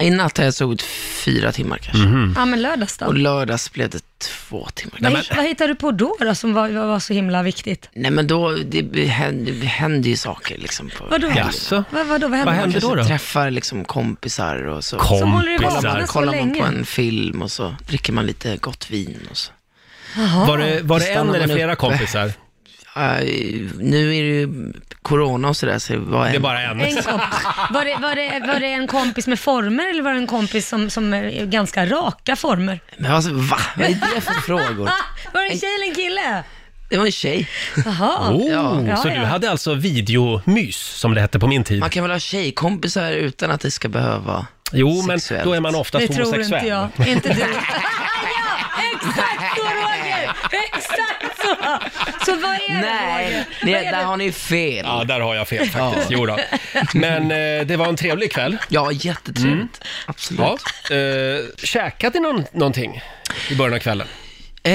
I natt har jag sovit fyra timmar kanske. Ja, men lördags då. Och lördags blev det två timmar. Vad, Nej, hit- vad hittade du på då, då som var, var så himla viktigt? Nej men då, det händer, det händer ju saker liksom. På Vadå? helgen. Jaså? Vad, vadå, vad hände? Vad hände Jag då? då? träffar liksom kompisar och så. Som håller i Kompisar. vanan. man, så kollar man länge. på en film och så dricker man lite gott vin och så. Jaha. Var det, var det en Stannar eller man flera uppe? kompisar? Aj, nu är det ju corona och sådär, så det var Det är en. bara en. En kompis. Var, det, var, det, var det en kompis med former eller var det en kompis som, som är ganska raka former? Men alltså, va? Vad är det för frågor? Ah, var det en tjej eller en kille? Det var en tjej. Jaha. Oh, Ja, så ja. du hade alltså videomys, som det hette på min tid? Man kan väl ha tjejkompisar utan att det ska behöva... Jo, men Sexuellt. då är man oftast Det tror homosexuell. inte jag. Inte du. ja, exakt så Roger! Exakt så! Så vad är det Roger? Nej, Vad nej är där det? har ni fel. Ja, där har jag fel faktiskt. Ja. Jo då. Men eh, det var en trevlig kväll. Ja, jättetrevligt. Absolut. Ja. Eh, käkade ni någon, någonting i början av kvällen? Eh,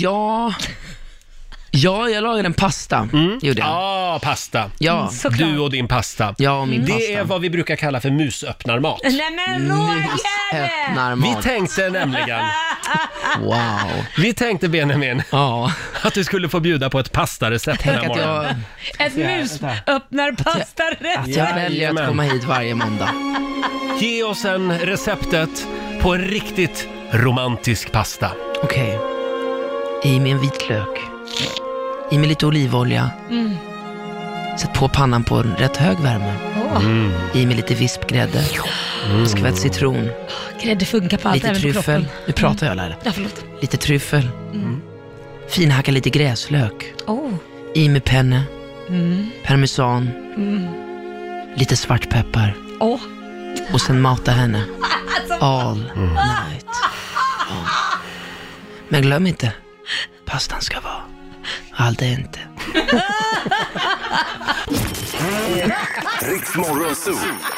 ja... ja, jag lagade en pasta. Gjorde jag. Ja, ah, pasta. Ja, Såklart. Du och din pasta. jag och min Det pasta. är vad vi brukar kalla för musöppnarmat. Nej Mm. men Roger! Öppnar Vi mat. tänkte nämligen, Wow. vi tänkte Benjamin, Ja, att du skulle få bjuda på ett pastarecept den tänk här att morgonen. jag, Ett mus öppnar pastarätt. jag väljer att Jajamän. komma hit varje måndag. Ge oss en receptet på en riktigt romantisk pasta. Okej. I med en vitlök. I med lite olivolja. Mm. Sätt på pannan på en rätt hög värme. Åh, I med lite vispgrädde. Mm. Skvätt citron. Grädde funkar på allt, Lite även på tryffel. kroppen. Mm. Nu pratar jag Laila. Ja, förlåt. Lite tryffel. Finhacka lite gräslök. Oh. I med penne. Parmesan. Lite svartpeppar. Åh. Och sen mata henne. All night. long. Men glöm inte, pastan ska vara. Allt är inte. Riks Morgonzoo.